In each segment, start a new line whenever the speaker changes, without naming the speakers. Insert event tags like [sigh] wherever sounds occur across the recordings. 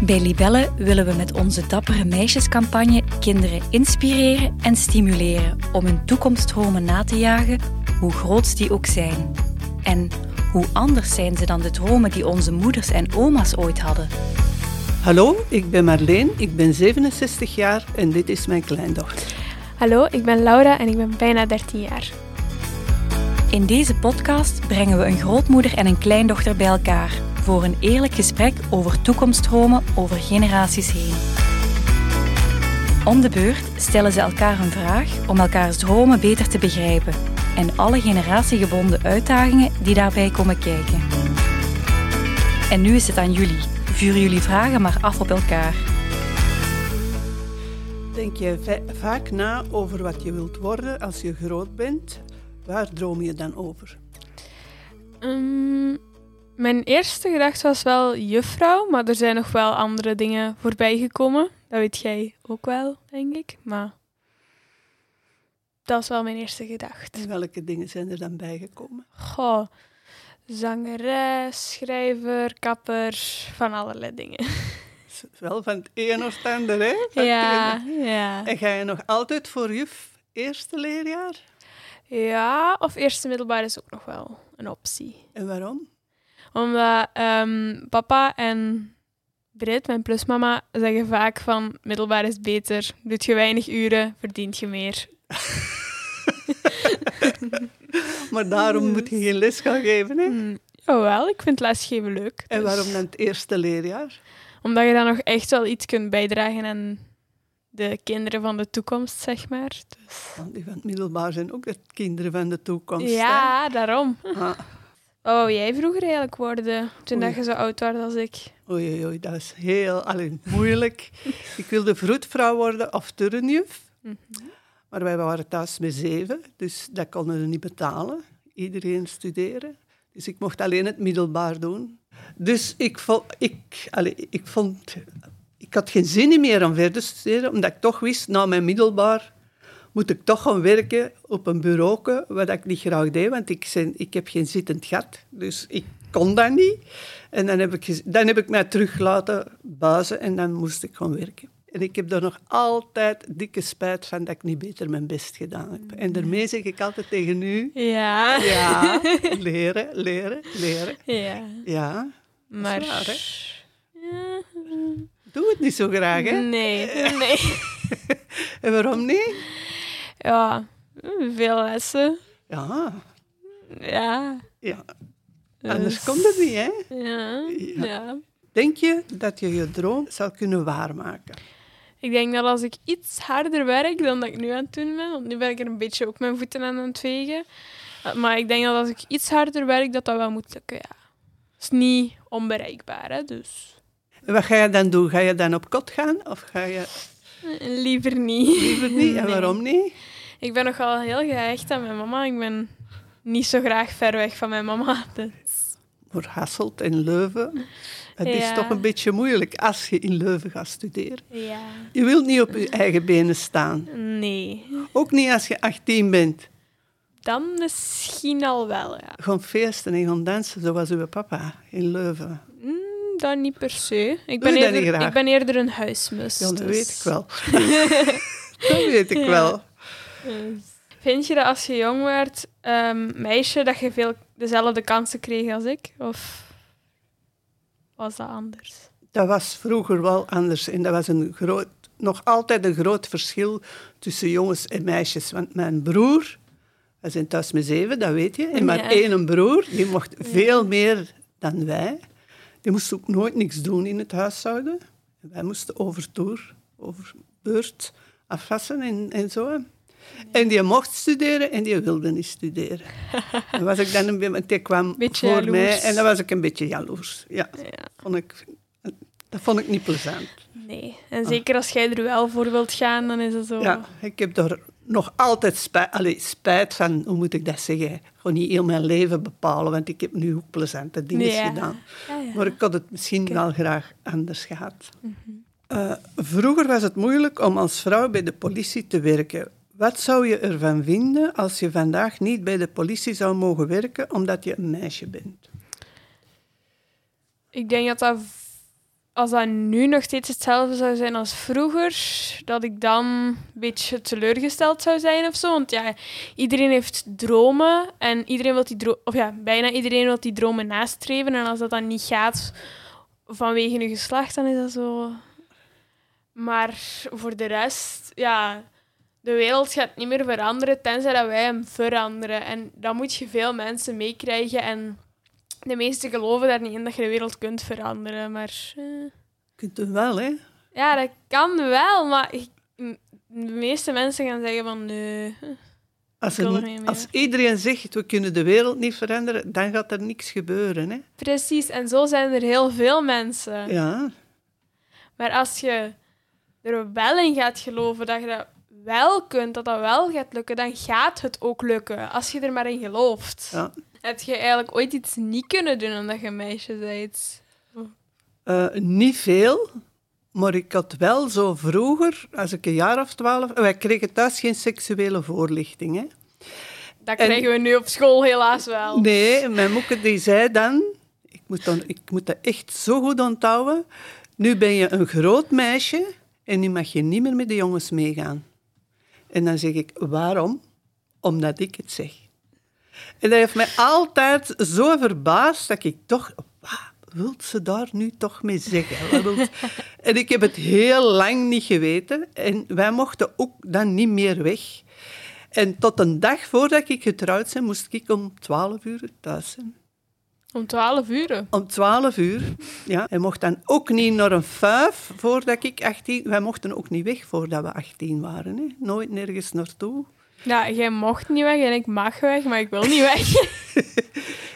Bij Libelle willen we met onze Dappere Meisjescampagne kinderen inspireren en stimuleren om hun toekomststromen na te jagen, hoe groot die ook zijn. En hoe anders zijn ze dan de dromen die onze moeders en oma's ooit hadden?
Hallo, ik ben Marleen, ik ben 67 jaar en dit is mijn kleindochter.
Hallo, ik ben Laura en ik ben bijna 13 jaar.
In deze podcast brengen we een grootmoeder en een kleindochter bij elkaar voor een eerlijk gesprek over toekomststromen over generaties heen. Om de beurt stellen ze elkaar een vraag om elkaars dromen beter te begrijpen en alle generatiegebonden uitdagingen die daarbij komen kijken. En nu is het aan jullie. Vuur jullie vragen maar af op elkaar.
Denk je va- vaak na over wat je wilt worden als je groot bent? Waar droom je dan over?
Ehm, mijn eerste gedachte was wel juffrouw, maar er zijn nog wel andere dingen voorbij gekomen. Dat weet jij ook wel, denk ik. Maar dat is wel mijn eerste gedachte.
En welke dingen zijn er dan bijgekomen?
Goh, zangeres, schrijver, kapper, van allerlei dingen.
Het is Wel van het een of het ander, hè? Van het
[laughs] Ja, ja.
een. En ga je nog altijd voor juf eerste leerjaar?
Ja, of eerste middelbaar is ook nog wel een optie.
En waarom?
Omdat ehm, papa en Britt, mijn plusmama, zeggen vaak van middelbaar is beter. Doet je weinig uren, verdient je meer.
Maar daarom moet je geen les gaan geven, hè?
Hm, jawel, ik vind lesgeven leuk.
En
dus-
waarom dan het eerste leerjaar?
Omdat je dan nog echt wel iets kunt bijdragen aan de kinderen van de toekomst, zeg maar. Dus...
Want die van het middelbaar zijn ook de kinderen van de toekomst. hè?
Ja, daarom.
Ah,
Wat wou jij vroeger eigenlijk worden, toen dat
Oei.
je zo oud was als ik?
Oei, oei, oei, dat is heel allee, moeilijk. ik wilde vroedvrouw worden of turnjuf.
Mhm.
Maar wij waren thuis met zeven, dus dat konden we niet betalen. Iedereen studeren. Dus ik mocht alleen het middelbaar doen. Dus ik vond... Ik, allee, ik, vond, ik had geen zin in meer om verder te studeren, omdat ik toch wist, na mijn middelbaar moet ik toch gaan werken op een bureau, wat ik niet graag deed, want ik, zijn, ik heb geen zittend gat. Dus ik kon dat niet. En dan heb ik, gez- dan heb ik mij terug laten buizen en dan moest ik gaan werken. En ik heb er nog altijd dikke spijt van dat ik niet beter mijn best gedaan heb. En daarmee zeg ik altijd tegen u...
Ja.
Ja, [laughs] leren, leren, leren.
Ja.
Ja,
Maar...
waar, hè?
Ja.
doe het niet zo graag, hè?
Mm.
[laughs]
Nee, nee.
En waarom niet?
Ja, veel lessen.
Ja,
Ja.
ja. anders
Dus-
komt het niet, hè?
Ja,
Ja.
ja.
Denk je dat je je droom zal kunnen waarmaken?
Ik denk dat als ik iets harder werk dan dat ik nu aan het doen ben, want nu ben ik er een beetje ook mijn voeten aan aan het vegen. Eh, Maar ik denk dat als ik iets harder werk, dat dat wel moet lukken, ja. is niet onbereikbaar, hè, dus...
En wat ga je dan doen? Ga je dan op kot gaan of ga je
eh, Liever niet.
liever niet? En
Nee.
waarom niet?
Ik ben nogal heel gehecht aan mijn mama. Ik ben niet zo graag ver weg van mijn mama. [laughs] Dus.
Voor Hasselt en Leuven. Het is
Ja.
toch een beetje moeilijk als je in Leuven gaat studeren.
Ja.
Je wilt niet op je eigen benen staan.
Nee.
Ook niet als je 18 bent.
Dan misschien al wel, ja.
Gewoon feesten en gewoon dansen, zoals uw papa in Leuven.
Mm, dat niet per se. Ik
Doe je dat
ben, eerder,
niet graag?
ik ben eerder een huismus.
Ja, dat
dus-
weet ik [laughs] wel. dat weet ik
Ja.
wel.
Dus. Vind je dat als je jong werd, ehm, meisje, dat je veel dezelfde kansen kreeg als ik? Of was dat anders?
Dat was vroeger wel anders en dat was een groot, nog altijd een groot verschil tussen jongens en meisjes. Want mijn broer, wij zijn thuis met zeven, dat weet je, en maar
Ja.
één broer, die mocht veel meer dan wij. Die moest ook nooit niks doen in het huishouden. En wij moesten overtoer, over beurt afwassen en, en zo. En die mocht studeren en die wilde niet
[laughs]
studeren. En was ik dan een beetje, want die kwam
Beetje
voor mij
jaloers.
en dan was ik een beetje jaloers. Ja
Ja.
vond ik, dat vond ik niet plezant.
Nee. En zeker als jij er wel voor wilt gaan, dan is dat zo.
Ah. Ja, ik heb daar nog altijd spijt, allee, spijt van, hoe moet ik dat zeggen? Gewoon niet heel mijn leven bepalen, want ik heb nu ook plezante dingen
Ja.
gedaan.
Ja, ja.
Maar ik had het misschien wel graag anders gehad.
Mhm.
Eh, vroeger was het moeilijk om als vrouw bij de politie te werken. Wat zou je ervan vinden als je vandaag niet bij de politie zou mogen werken omdat je een meisje bent?
Ik denk dat dat v- als dat nu nog steeds hetzelfde zou zijn als vroeger, dat ik dan een beetje teleurgesteld zou zijn of zo. Want ja, iedereen heeft dromen en iedereen wil die dromen, of ja, bijna iedereen wil die dromen nastreven. En als dat dan niet gaat vanwege je geslacht, dan is dat zo. Maar voor de rest, ja, de wereld gaat niet meer veranderen tenzij dat wij hem veranderen. En dan moet je veel mensen meekrijgen en de meesten geloven daar niet in dat je de wereld kunt veranderen, maar... eh,
Je kunt het wel, hè.
ja, dat kan wel, maar ik- de meeste mensen gaan zeggen van nee.
Als,
Ik wil
er
er
niet-
niet meer.
als iedereen zegt, we kunnen de wereld niet veranderen, dan gaat er niks gebeuren, hè.
Precies, en zo zijn er heel veel mensen.
Ja,
Maar als je er wel in gaat geloven dat je dat wel kunt, dat dat wel gaat lukken, dan gaat het ook lukken. Als je er maar in gelooft.
ja.
Heb je eigenlijk ooit iets niet kunnen doen omdat je een meisje bent?
Eh, niet veel, maar ik had wel zo vroeger, als ik een jaar of twaalf... eh, Wij kregen thuis geen seksuele voorlichting, hè.
Dat
En-
krijgen we nu op school helaas wel.
Nee, mijn moeke die zei dan... Ik moet, dan, ik moet dat echt zo goed onthouden. Nu ben je een groot meisje en nu mag je niet meer met de jongens meegaan. En dan zeg ik, waarom? Omdat ik het zeg. En dat heeft mij altijd zo verbaasd dat ik toch... Wat wilt ze daar nu toch mee zeggen? Wat wil ze- en ik heb het heel lang niet geweten. En wij mochten ook dan niet meer weg. En tot een dag voordat ik getrouwd ben, moest ik om 12 uur thuis zijn.
Om twaalf uur.
Om 12 uur, ja. Hij mocht dan ook niet naar een fuif voordat ik 18... Wij mochten ook niet weg voordat we 18 waren, hè. Nooit nergens naartoe.
Ja, jij mocht niet weg en ik mag weg, maar ik wil niet weg.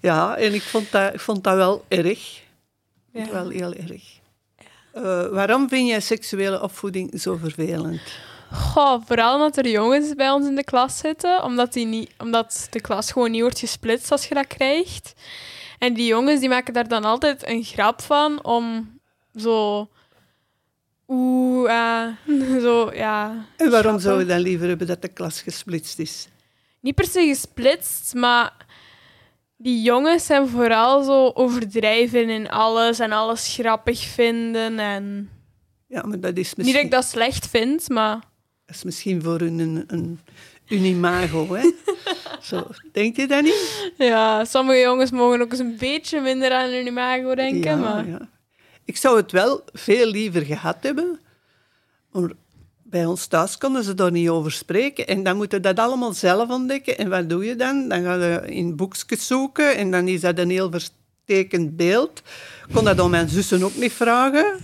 Ja, en ik vond dat, ik vond dat wel erg.
Ja.
Wel heel erg. Eh, waarom vind jij seksuele opvoeding zo vervelend?
Goh, vooral omdat er jongens bij ons in de klas zitten, omdat, die niet, omdat de klas gewoon niet wordt gesplitst als je dat krijgt. En die jongens die maken daar dan altijd een grap van om zo. Oeh, eh, [laughs] zo ja.
En waarom
grappen.
zou je dan liever hebben dat de klas gesplitst is?
niet per se gesplitst, maar die jongens zijn vooral zo overdrijven in alles en alles grappig vinden. En
Ja, maar dat is
niet dat
misschien,
ik dat slecht vind, maar
dat is misschien voor hun een, een, hun imago,
[laughs]
hè? zo, denk je dat niet?
ja, sommige jongens mogen ook eens een beetje minder aan hun imago denken.
Ja,
maar
ja. Ik zou het wel veel liever gehad hebben, maar bij ons thuis konden ze daar niet over spreken. En dan moeten dat allemaal zelf ontdekken. En wat doe je dan? Dan ga je in boekjes zoeken en dan is dat een heel verstekend beeld. Ik kon dat aan mijn zussen ook niet vragen.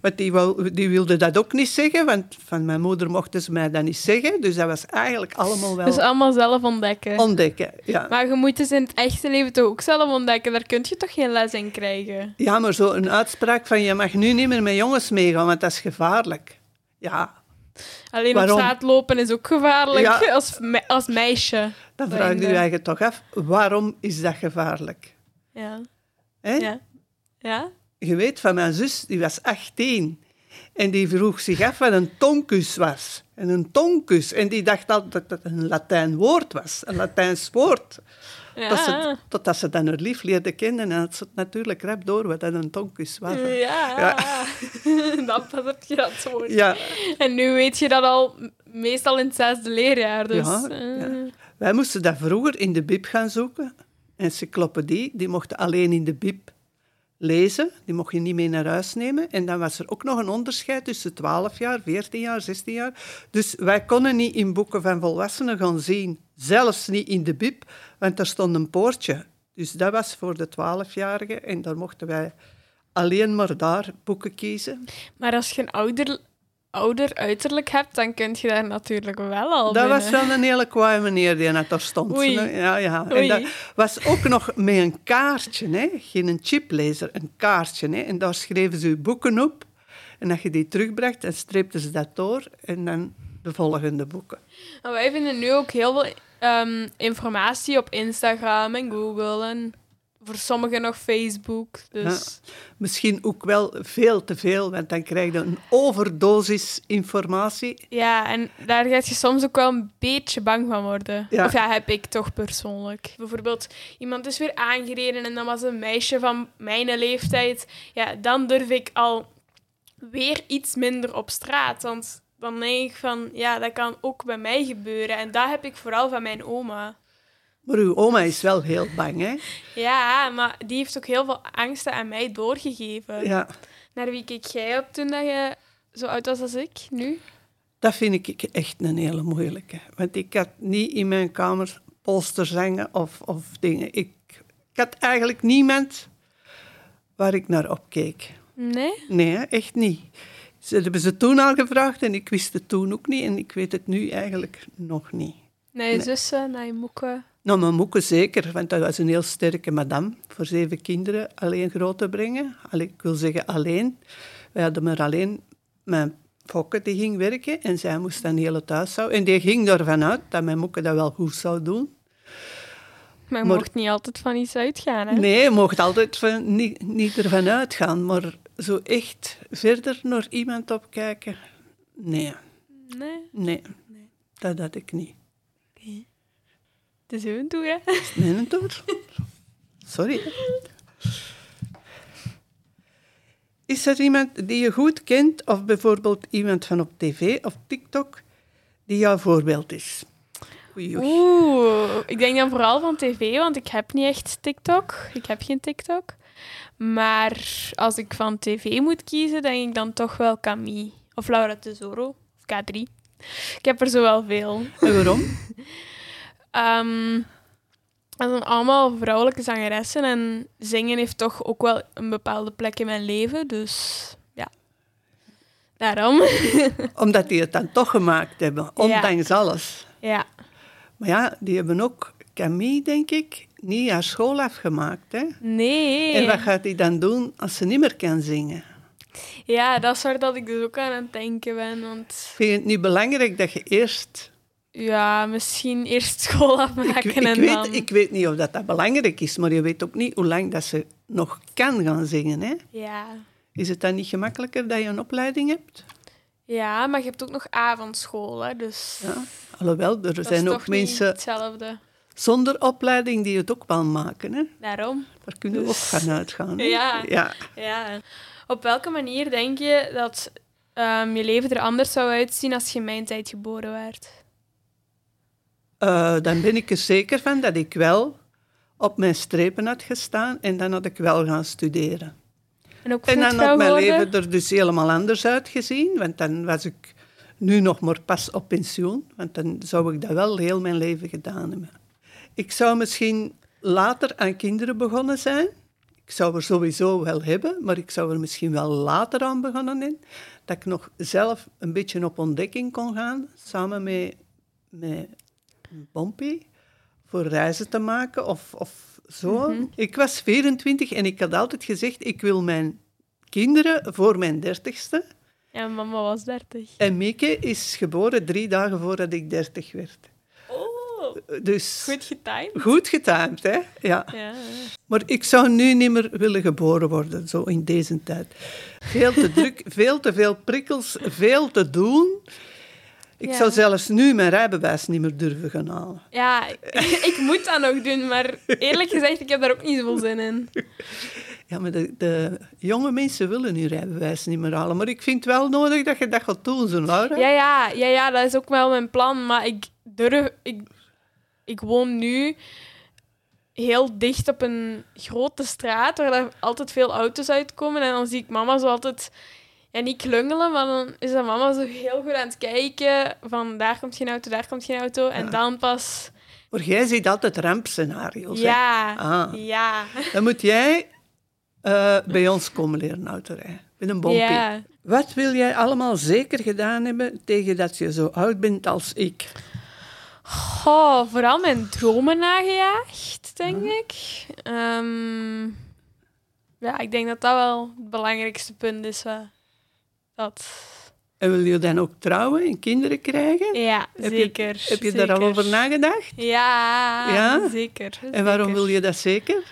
Want die, wou, die wilde dat ook niet zeggen, want van mijn moeder mochten ze mij dat niet zeggen. Dus dat was eigenlijk allemaal wel
dus allemaal zelf ontdekken.
ontdekken. Ja.
maar je moet dus in het echte leven toch ook zelf ontdekken. Daar kun je toch geen les in krijgen.
Ja, maar zo een uitspraak van je mag nu niet meer met jongens meegaan, want dat is gevaarlijk. Ja,
Alleen
Waarom?
op straat lopen is ook gevaarlijk
Ja.
als, me- als meisje.
dan
Waarin
vraag je je
de-
eigen toch af, waarom is dat gevaarlijk?
Ja.
Hè?
Ja. ja?
Je weet, van mijn zus, die was 18. En die vroeg zich af wat een tonkus was. En een tonkus. En die dacht altijd dat dat een Latijn woord was. Een Latijns woord.
ja.
Dat ze, totdat ze dan haar lief leerde kennen. En had ze het natuurlijk rap door wat dat een tonkus was.
Ja,
Ja.
[laughs] dat was het grapwoord.
Ja,
En nu weet je dat al m- meestal in het zesde leerjaar. Dus,
Ja,
eh,
ja. Wij moesten dat vroeger in de bib gaan zoeken. Encyclopedie, die mochten alleen in de bib lezen. Die mocht je niet mee naar huis nemen. En dan was er ook nog een onderscheid tussen 12 jaar, 14 jaar, 16 jaar. Dus wij konden niet in boeken van volwassenen gaan zien. Zelfs niet in de bib, want er stond een poortje. Dus dat was voor de 12-jarigen. En daar mochten wij alleen maar daar boeken kiezen.
Maar als je een ouder, ouder uiterlijk hebt, dan kun je daar natuurlijk wel al
Dat
binnen.
was wel een hele kwaaie meneer die net daar stond.
Oei.
Ja, ja. En
Oei.
dat was ook nog met een kaartje, hè. geen een chiplezer, een kaartje. Hè. En daar schreven ze je boeken op. En als je die terugbracht, dan streepten ze dat door. En dan de volgende boeken.
En Nou, wij vinden nu ook heel veel ehm, informatie op Instagram en Google en voor sommigen nog Facebook. Dus
Misschien ook wel veel te veel, want dan krijg je een overdosis informatie.
ja. en daar ga je soms ook wel een beetje bang van worden.
Ja.
Of ja, heb ik toch persoonlijk. Bijvoorbeeld, iemand is weer aangereden en dan was een meisje van mijn leeftijd. Ja, dan durf ik al weer iets minder op straat. Want dan denk ik van, ja, dat kan ook bij mij gebeuren. En dat heb ik vooral van mijn oma.
Maar uw oma is wel heel bang, hè?
Ja, maar die heeft ook heel veel angsten aan mij doorgegeven.
Ja.
Naar wie keek jij op toen dat je zo oud was als ik, nu?
Dat vind ik echt een hele moeilijke. Want ik had niet in mijn kamer posters hangen of, of dingen. Ik, ik had eigenlijk niemand waar ik naar opkeek.
Nee?
Nee, hè, echt niet. Ze hebben ze toen al gevraagd en ik wist het toen ook niet. En ik weet het nu eigenlijk nog niet.
Naar je
Nee.
zussen, naar je moeken.
Nou, mijn moeke zeker, want dat was een heel sterke madame. Voor zeven kinderen alleen groot te brengen. Allee, ik wil zeggen alleen. Wij hadden maar alleen mijn fokke die ging werken en zij moest dan heel het thuis houden. En die ging ervan uit dat mijn moeke dat wel goed zou doen.
Maar je
Maar-
mocht niet altijd van iets uitgaan, hè?
Nee, je mocht altijd van, niet, niet ervan uitgaan, maar zo echt verder naar iemand opkijken, nee,
Nee.
nee, dat had ik niet.
Het is hun toe, hè?
Nee, dat doet. Sorry. Is er iemand die je goed kent, of bijvoorbeeld iemand van op tv of TikTok, die jouw voorbeeld is? Oei, oei.
Oeh, ik denk dan vooral van tv, want ik heb niet echt TikTok. Ik heb geen TikTok. Maar als ik van tv moet kiezen, denk ik dan toch wel Camille. Of Laura Tesoro. Of K3. Ik heb er zo wel veel.
En waarom?
Ehm, dat zijn allemaal vrouwelijke zangeressen. En zingen heeft toch ook wel een bepaalde plek in mijn leven. Dus ja, daarom. [laughs]
Omdat die het dan toch gemaakt hebben, ondanks alles.
ja.
Maar ja, die hebben ook Camille, denk ik, niet haar school afgemaakt. Hè?
Nee.
En wat gaat die dan doen als ze niet meer kan zingen?
Ja, dat is waar dat ik dus ook aan het denken ben. Want
Vind je het niet belangrijk dat je eerst
ja, misschien eerst school [laughs]
Ik,
afmaken
ik,
en dan...
weet, ik weet niet of dat, dat belangrijk is, maar je weet ook niet hoe lang dat ze nog kan gaan zingen. Hè?
Ja.
Is het dan niet gemakkelijker dat je een opleiding hebt?
ja, maar je hebt ook nog avondschool, hè, dus
Ja. Alhoewel, er
dat is
zijn
toch
ook
niet
mensen
hetzelfde.
zonder opleiding die het ook wel maken. Hè?
Daarom.
Daar kunnen we ook
Dus-
van uitgaan. Hè?
Ja.
ja.
Ja. Op welke manier denk je dat ehm, je leven er anders zou uitzien als je in mijn tijd geboren werd?
Eh, dan ben ik er zeker van dat ik wel op mijn strepen had gestaan en dan had ik wel gaan studeren.
En ook
En dan had
voetvrouw
mijn
geworden?
leven er dus helemaal anders uitgezien, want dan was ik nu nog maar pas op pensioen, want dan zou ik dat wel heel mijn leven gedaan hebben. Ik zou misschien later aan kinderen begonnen zijn. Ik zou er sowieso wel hebben, maar ik zou er misschien wel later aan begonnen zijn. Dat ik nog zelf een beetje op ontdekking kon gaan, samen met, met Pompey voor reizen te maken of, of zo. Ik was 24 en ik had altijd gezegd, ik wil mijn kinderen voor mijn dertigste.
Ja, mama was dertig.
En Mieke is geboren drie dagen voordat ik dertig werd.
Oh,
Dus
goed getimed.
goed getimed, hè? Ja.
Ja.
Maar ik zou nu niet meer willen geboren worden, zo in deze tijd. Veel te druk, [laughs] veel te veel prikkels, veel te doen. Ik
Ja.
zou zelfs nu mijn rijbewijs niet meer durven gaan halen.
Ja, ik [laughs] moet dat nog doen, maar eerlijk gezegd, ik heb daar ook niet zoveel zin in.
Ja, maar de, de jonge mensen willen hun rijbewijs niet meer halen. Maar ik vind wel nodig dat je dat gaat doen, zo Laura.
Ja, ja, ja, ja, dat is ook wel mijn plan. Maar ik durf. Ik, ik woon nu heel dicht op een grote straat waar er altijd veel auto's uitkomen. En dan zie ik mama zo altijd. Ja, niet klungelen, maar dan is dat mama zo heel goed aan het kijken. Van daar komt geen auto, daar komt geen auto. En dan pas.
Maar jij ziet altijd rampscenario's. hè.
Ja,
Ah.
ja.
Dan moet jij eh, bij ons komen leren auto rijden. Met een bompie.
Ja.
Wat wil jij allemaal zeker gedaan hebben tegen dat je zo oud bent als ik?
Goh, vooral mijn dromen nagejaagd, denk ik. Ehm, ja, ik denk dat dat wel het belangrijkste punt is. eh, Dat.
En wil je dan ook trouwen en kinderen krijgen?
Ja,
Heb je-
zeker.
Heb je daar al
zeker.
over nagedacht?
Ja,
Ja?
zeker.
En waarom wil je dat zeker?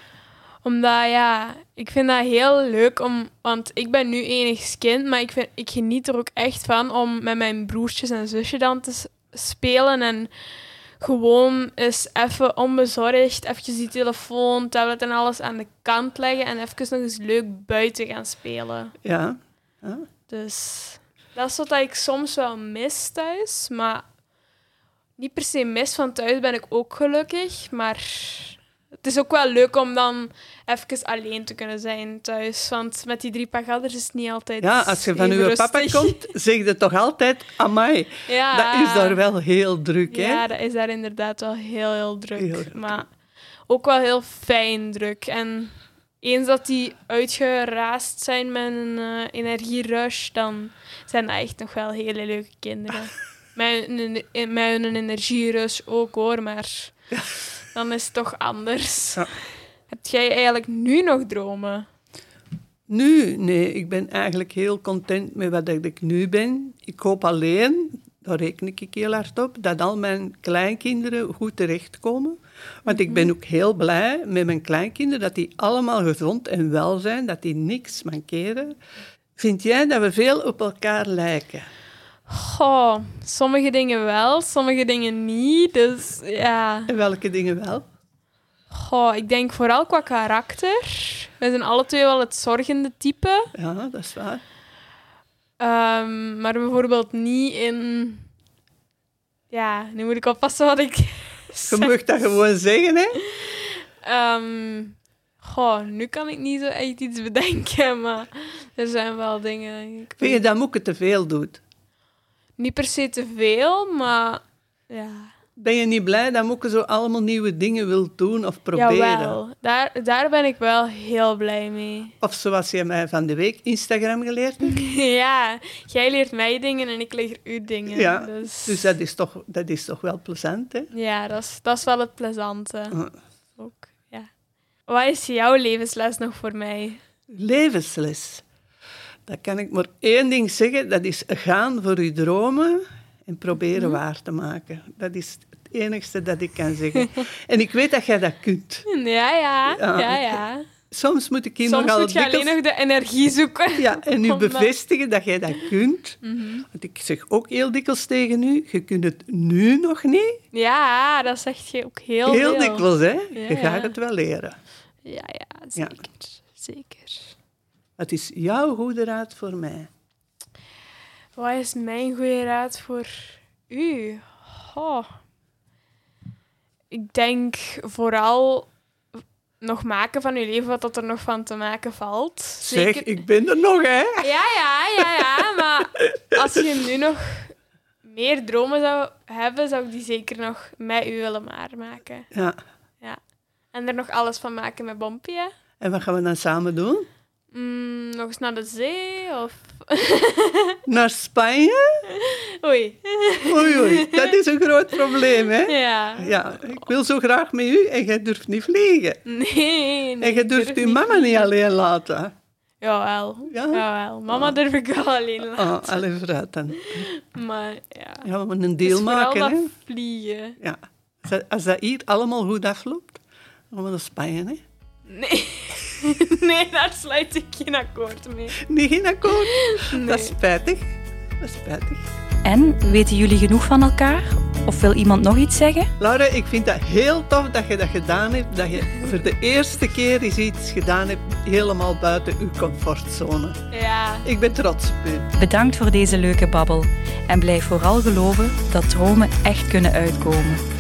Omdat, ja, ik vind dat heel leuk om... Want ik ben nu enigszins kind, maar ik, vind, ik geniet er ook echt van om met mijn broertjes en zusje dan te s- spelen. En gewoon eens even onbezorgd, eventjes die telefoon, tablet en alles aan de kant leggen. En even nog eens leuk buiten gaan spelen.
Ja. Ja.
Dus dat is wat ik soms wel mis thuis. Maar niet per se mis, van thuis ben ik ook gelukkig. Maar het is ook wel leuk om dan even alleen te kunnen zijn thuis. Want met die drie pagadders is het niet altijd
Ja, als je van
even
uw
rustig.
papa komt, zeg je toch altijd, amai,
[laughs] ja.
dat is daar wel heel druk, hè?
Ja, dat is daar inderdaad wel heel, heel druk.
Heel druk.
Maar ook wel heel fijn druk. En eens dat die uitgeraasd zijn met een eh, energierush, dan zijn dat echt nog wel hele leuke
[laughs]
kinderen. Met hun, eh, met hun energierush ook hoor, maar dan is het toch anders.
Ja.
Heb jij eigenlijk nu nog dromen?
Nu, nee, ik ben eigenlijk heel content met wat ik nu ben. Ik hoop alleen, daar reken ik heel hard op, dat al mijn kleinkinderen goed terechtkomen. Want ik
Mhm.
ben ook heel blij met mijn kleinkinderen, dat die allemaal gezond en wel zijn, dat die niks mankeren. Vind jij dat we veel op elkaar lijken?
Goh, sommige dingen wel, sommige dingen niet. Dus ja.
En welke dingen wel?
Goh, ik denk vooral qua karakter. We zijn alle twee wel het zorgende type.
Ja, dat is waar.
Ehm, maar bijvoorbeeld niet in... Ja, nu moet ik oppassen wat ik
Je
zeg.
mag dat gewoon zeggen, hè?
Ehm, goh, nu kan ik niet zo echt iets bedenken, maar er zijn wel dingen... Ik
Vind je dat Moeke te veel doet?
Niet per se te veel, maar... Ja.
Ben je niet blij dat Moeke zo allemaal nieuwe dingen wil doen of proberen?
Jawel, daar, daar ben ik wel heel blij mee. [laughs]
Of zoals je mij van de week Instagram geleerd hebt.
ja, jij leert mij dingen en ik leer u dingen.
Ja,
dus...
Dus dat is toch, dat is toch wel plezant, hè?
Ja, dat is, dat is wel het plezante.
Eh,
Ook, ja. Wat is jouw levensles nog voor mij?
Levensles. Dat kan ik maar één ding zeggen. Dat is gaan voor je dromen en proberen
Mhm.
waar te maken. Dat is het enigste dat ik kan zeggen. [laughs] en ik weet dat jij dat kunt.
Ja, ja,
Ja.
ja, ja.
Soms moet ik hier
Soms
nogal
moet je alleen
dikwijls-
nog de energie zoeken.
Ja, en u
[laughs] Om dat- Mhm.
bevestigen dat jij dat kunt. Want ik zeg ook heel dikwijls tegen u, je kunt het nu nog niet.
Ja, dat zegt je ook heel,
Heel,
veel.
dikwijls, hè.
Ja,
je gaat
ja.
het wel leren.
Ja, ja, zeker. Zeker.
Het is jouw goede raad voor mij.
Wat is mijn goede raad voor u? Goh. Ik denk vooral nog maken van uw leven wat dat er nog van te maken valt.
Zeg,
Zeker.
ik ben er nog, hè?
Ja, ja, ja, ja. Maar als je nu nog meer dromen zou hebben, zou ik die zeker nog met u willen waarmaken.
Ja.
En er nog alles van maken met Bompie. hè.
En wat gaan we dan samen doen?
Mm, nog eens naar de zee of... [laughs]
Naar Spanje?
Oei.
Oei, oei, dat is een groot probleem, hè?
Ja.
Ja, ik wil zo graag met u en jij durft niet vliegen.
Nee, nee.
En jij
ik durf
durft uw
niet.
mama niet alleen laten.
Jawel.
Ja? Ah.
Jawel. Mama durf ik wel alleen
Oh,
laten.
allee, vooruit dan.
Maar ja. Het
Gaan we een
is
deal
vooral
maken, hè?
dat vliegen. [laughs]
Ja. Als dat- Als dat hier allemaal goed afloopt, dan gaan we naar Spanje, hè?
Nee. nee, daar sluit ik geen akkoord mee.
Nee, geen akkoord. Dat is
Nee.
spijtig. Dat is spijtig.
En weten jullie genoeg van elkaar? Of wil iemand nog iets zeggen?
Laura, ik vind dat heel tof dat je dat gedaan hebt. Dat je voor de eerste keer eens iets gedaan hebt helemaal buiten je comfortzone.
Ja.
Ik ben trots op u.
Bedankt voor deze leuke babbel. En blijf vooral geloven dat dromen echt kunnen uitkomen.